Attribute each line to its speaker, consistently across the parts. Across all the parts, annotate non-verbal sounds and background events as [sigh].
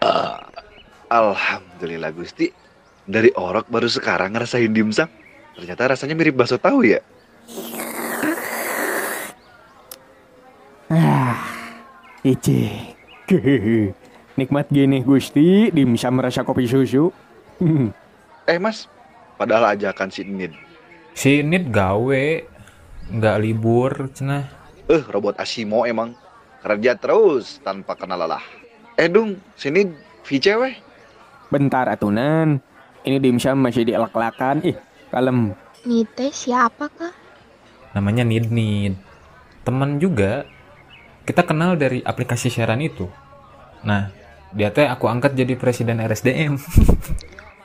Speaker 1: Ah, Alhamdulillah Gusti. Dari orok baru sekarang ngerasain dimsum. Ternyata rasanya mirip bakso tahu ya.
Speaker 2: Ah, icik. [laughs] Nikmat gini Gusti, dimsum rasa kopi susu. [laughs] Hmm,
Speaker 1: Eh Mas, padahal ajakan si Nid.
Speaker 3: Si Nid gawe nggak libur cenah.
Speaker 1: Eh, robot Asimo emang kerja terus tanpa kenal lelah. Eh Dung, sini VCW.
Speaker 2: Bentar atunan. Ini dimsum masih dielak-elakan. Ih, kalem.
Speaker 4: Nite siapa kah?
Speaker 3: Namanya Nid Nid. Teman juga. Kita kenal dari aplikasi siaran itu. Nah, dia teh aku angkat jadi presiden RSDM.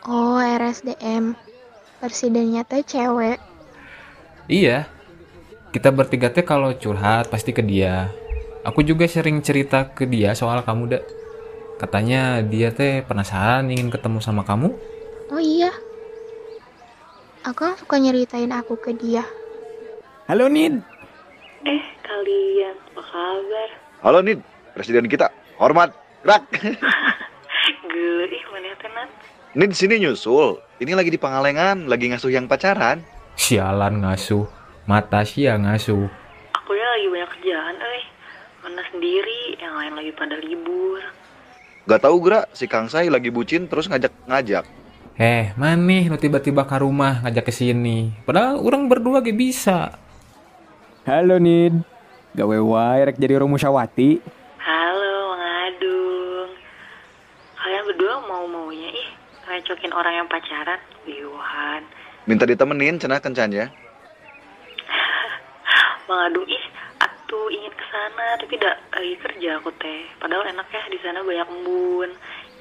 Speaker 4: Oh, RSDM. Presidennya teh cewek.
Speaker 3: [laughs] Iya. Kita bertiga teh kalau curhat pasti ke dia. Aku juga sering cerita ke dia soal kamu, Dak. Katanya dia teh penasaran ingin ketemu sama kamu.
Speaker 4: Oh iya. Aku kan suka nyeritain aku ke dia.
Speaker 2: Halo Nid.
Speaker 5: Eh, kalian apa kabar?
Speaker 1: Halo Nid, presiden kita. Hormat, gerak.
Speaker 5: Gila, ih mana ya, tenan?
Speaker 1: Nid sini nyusul. Ini lagi di Pangalengan, lagi ngasuh yang pacaran.
Speaker 3: Sialan ngasuh. Mata sia ngasuh.
Speaker 5: Aku ya lagi banyak kerjaan, eh. Mana sendiri, yang lain lagi pada libur.
Speaker 1: Gak tahu gerak, si Kang Sai lagi bucin terus ngajak-ngajak.
Speaker 3: Eh, maneh lu tiba-tiba ke rumah ngajak ke sini. Padahal orang berdua ge bisa.
Speaker 2: Halo Nid. Gawe wae rek jadi Romusyawati.
Speaker 5: Halo, ngadung. Kalian berdua mau-maunya, ih. Ngecokin orang yang pacaran. Yuhan.
Speaker 1: Minta ditemenin, cenah kencan ya.
Speaker 5: Mengadung, ih. Aku ingin ke sana, tapi tidak lagi kerja aku teh. Padahal enak ya, di sana banyak embun.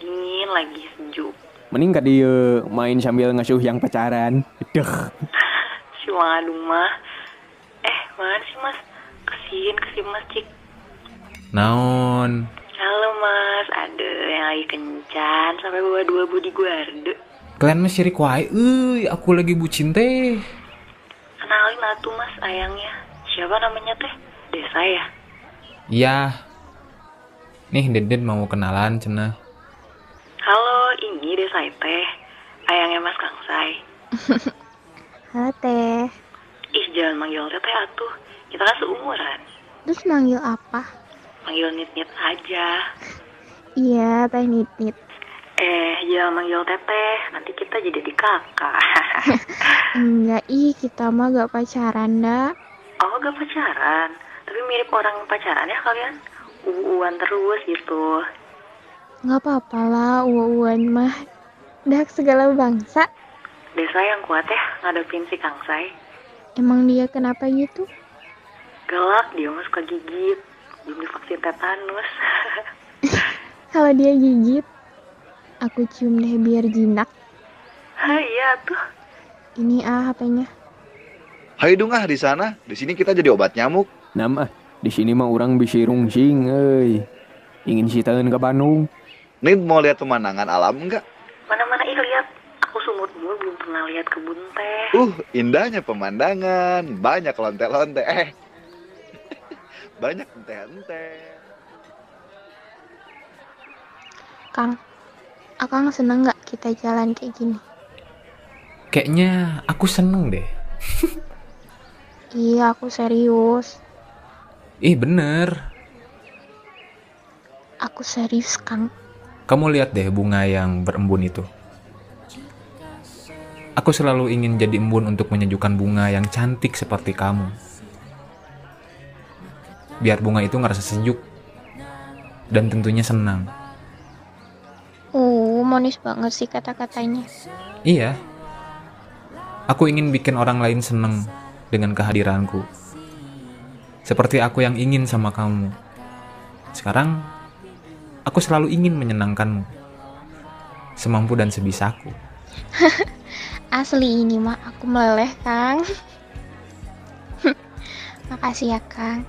Speaker 5: Dingin lagi, sejuk.
Speaker 2: Mending ka dieu main sambil ngasuh yang pacaran. Deh.
Speaker 5: Si Mangadung mah. Eh, mana sih mas? Kesin, kesin mas, cik.
Speaker 3: Naon?
Speaker 5: Halo mas, ada yang lagi kencan sampai bawa dua budi guarde.
Speaker 3: Kalian mah sirik wae. Euy, aku lagi bucin teh.
Speaker 5: Kenalin atuh mas ayangnya. Siapa namanya teh? Desa ya.
Speaker 3: Iya. Nih, Deden mau kenalan cenah.
Speaker 5: Halo, ini Desa teh. Ayangnya mas Kangsai.
Speaker 4: Halo teh.
Speaker 5: Ih jangan manggil teteh atuh. Kita kan seumuran.
Speaker 4: Terus manggil apa?
Speaker 5: Manggil nit-nit aja.
Speaker 4: Iya, teh nit-nit.
Speaker 5: Eh, jangan manggil teteh. Nanti kita jadi di kakak. [laughs]
Speaker 4: Enggak ih, kita mah gak pacaran dah.
Speaker 5: oh, gak pacaran. Tapi mirip orang yang pacaran ya kalian. Uuan terus gitu.
Speaker 4: Gak apa-apa lah, uan mah. Dah segala bangsa.
Speaker 5: Desa yang kuat ya ngadepin si Kangsai.
Speaker 4: Emang dia kenapa gitu?
Speaker 5: Galak dia mah suka gigit. Belum divaksin tetanus. [laughs]
Speaker 4: Kalau dia gigit, aku cium deh biar jinak.
Speaker 5: Hah iya tuh.
Speaker 4: Ini ah HP-nya.
Speaker 1: Hai dong ah di sana, di sini kita jadi obat nyamuk.
Speaker 2: Nam ah, di sini mah orang bisi rungsing euy. Ingin sitaeun ke Bandung.
Speaker 1: Nid mau lihat pemandangan alam enggak?
Speaker 5: Mana-mana ih lihat. Aku seumur umur belum pernah lihat kebun teh.
Speaker 1: Uh, indahnya pemandangan, banyak lonte-lonte. Eh, [laughs] banyak ente-ente.
Speaker 4: Kang, Akang seneng nggak kita jalan kayak gini?
Speaker 3: Kayaknya aku seneng deh.
Speaker 4: Iya, aku serius.
Speaker 3: Ih, bener.
Speaker 4: Aku serius, Kang.
Speaker 3: Kamu lihat deh bunga yang berembun itu. Aku selalu ingin jadi embun untuk menyejukkan bunga yang cantik seperti kamu. Biar bunga itu ngerasa sejuk dan tentunya senang.
Speaker 4: Uh, manis banget sih kata-katanya.
Speaker 3: Iya. Aku ingin bikin orang lain senang dengan kehadiranku. Seperti aku yang ingin sama kamu. Sekarang aku selalu ingin menyenangkanmu. Semampu dan sebisaku.
Speaker 4: Asli ini mah aku meleleh, Kang. [laughs] Makasih ya, Kang.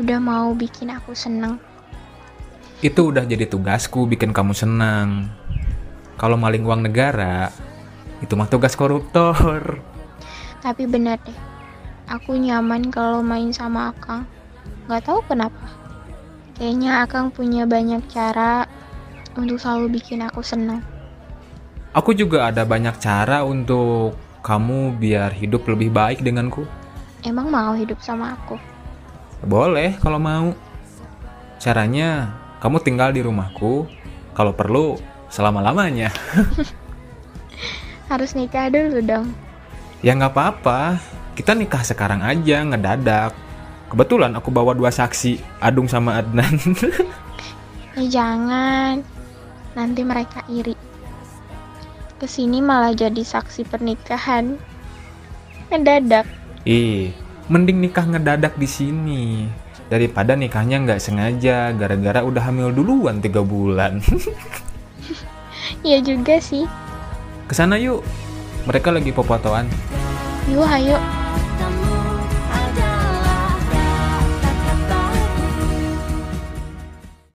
Speaker 4: Udah mau bikin aku seneng.
Speaker 3: Itu udah jadi tugasku bikin kamu senang. Kalau maling uang negara, itu mah tugas koruptor. [laughs]
Speaker 4: Tapi bener deh, aku nyaman kalau main sama Akang. Gak tahu kenapa. Kayaknya Akang punya banyak cara untuk selalu bikin aku senang.
Speaker 3: Aku juga ada banyak cara untuk kamu biar hidup lebih baik denganku.
Speaker 4: Emang mau hidup sama aku?
Speaker 3: Boleh kalau mau. Caranya kamu tinggal di rumahku, kalau perlu selama-lamanya.
Speaker 4: Harus nikah dulu dong.
Speaker 3: Ya nggak apa-apa, kita nikah sekarang aja ngedadak. Kebetulan aku bawa dua saksi, Adung sama Adnan. [laughs]
Speaker 4: Ya jangan. Nanti mereka iri. Kesini malah jadi saksi pernikahan. Mendadak.
Speaker 3: Ih, mending nikah ngedadak di sini daripada nikahnya nggak sengaja gara-gara udah hamil duluan tiga bulan. [laughs]
Speaker 4: Iya juga sih.
Speaker 3: Kesana yuk, mereka lagi popotoan.
Speaker 4: Yuk ayo.